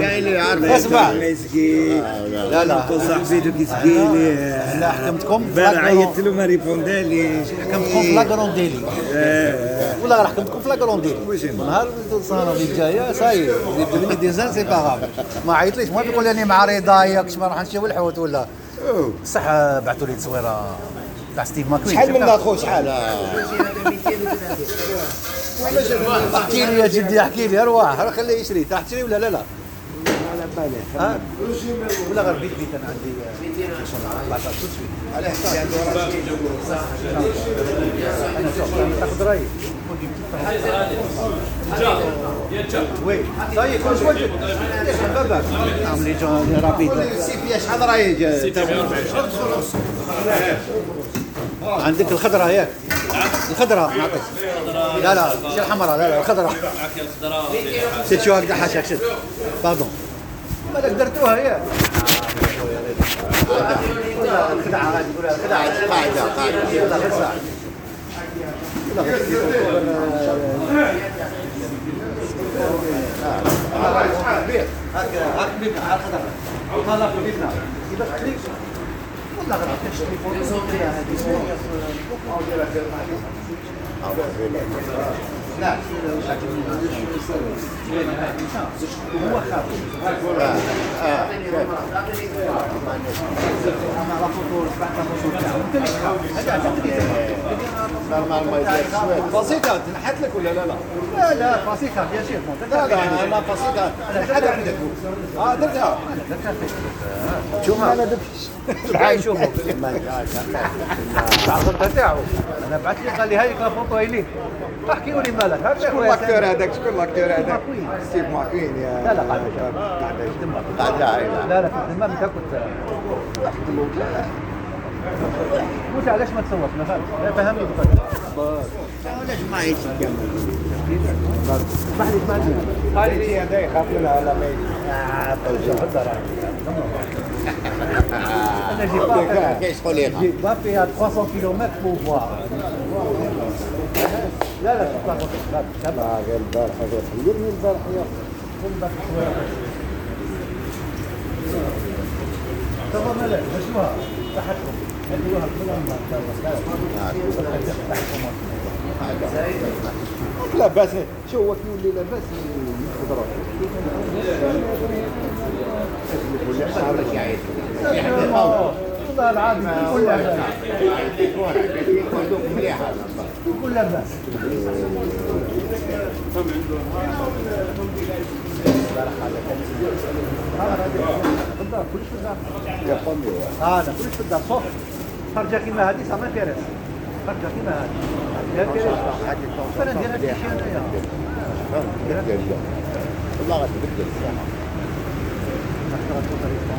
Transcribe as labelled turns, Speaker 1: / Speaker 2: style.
Speaker 1: يعني عارف
Speaker 2: اسمع.
Speaker 1: يسقي
Speaker 2: لا لا
Speaker 1: وصاحبي بيدو يسقي لي
Speaker 2: لا حكمتكم في
Speaker 1: بارح
Speaker 2: لاكرون-
Speaker 1: عيطت له ما ريبونداليش
Speaker 2: حكمتكم في لاكرونديلي
Speaker 1: آه.
Speaker 2: والله راه حكمتكم في لاكرونديلي نهار الصهرة اللي جايه ساي دي ديزان سي باغا ما عيطليش المهم يقول لي اني مع رضا ياك ما راح نشوي الحوت ولا بصح آه، بعثوا لي تصويره تاع ستيف ماكوين
Speaker 3: شحال منها خو شحال
Speaker 2: احكي لي يا جدي احكي لي ارواح راه خليه يشري تاع تشري ولا لا لا على بالي ولا غير بيت بيت انا عندي آه، إن شاء الله، 14 شو تسوي؟ أنا شوف، تاخذ رايي وي صاي كل شوي بابا عملي جون رابيد
Speaker 3: شحال راهي
Speaker 2: عندك الخضره ياك الخضره نعطيك لا لا ماشي الحمراء لا لا الخضره شد شو هكذا حاشاك شد باردون ما لك درتوها ياك ولا الخدعه غادي نقولها الخدعه
Speaker 3: قاعده قاعده
Speaker 2: ولا غير ساعه ولا غير هكا هكا بيتنا على الخضره وطلع في بيتنا كيفاش خليك ولا غير عطيك التليفون لا هو
Speaker 3: نورمال ما يدير شويه بسيطه تنحت لك ولا لا لا
Speaker 2: لا لا بسيطة يا شيخ
Speaker 3: لا لا انا بسيطه تنحت عندك اه درتها
Speaker 2: شوف انا دبش تعال شوفوا العصر تاعو انا بعث لي قال لي هاي كان فوتو لي احكيوا لي مالك هاك
Speaker 3: شكون
Speaker 2: خويا
Speaker 3: لاكتور
Speaker 2: سامي.
Speaker 3: هذاك شكون لاكتور هذاك
Speaker 2: ماكوين.
Speaker 3: ستيف ماكوين يا
Speaker 2: لا لا قاعد
Speaker 3: قاعد
Speaker 2: تما
Speaker 3: قاعد هاي
Speaker 2: لا لا في الدمام انت كنت قلت علاش ما تصورش ما فهمتش لا فهمني بفضل
Speaker 3: علاش ما يتكمل
Speaker 2: اسمح لي اسمح لي
Speaker 3: هذه هذا يخاف منها لا ما
Speaker 2: آه، طيب، هدا راهي. انا جي با
Speaker 3: يتكمل كيشقول لي
Speaker 2: J'ai pas fait à 300 km pour voir. Là, là, je suis pas content. Là, ça va.
Speaker 3: غير البارح هذا خيرني البارح يا
Speaker 2: Ça va, ملك. مشوها. صحتكم. خليوها كل عمرها. لا، لا.
Speaker 3: لاباس شو هو كي يولي لاباس ياخذ
Speaker 2: والله العظيم كل لاباس كل لاباس بالضبط كلش في الدار اه انا كلش في الدار صوف خرجه كيما هذه صافي كارثه خرجه كيما هذه يا كارثه انا ندير هذا الشيء انايا
Speaker 3: والله غتبدل
Speaker 2: نحترم الطريقة.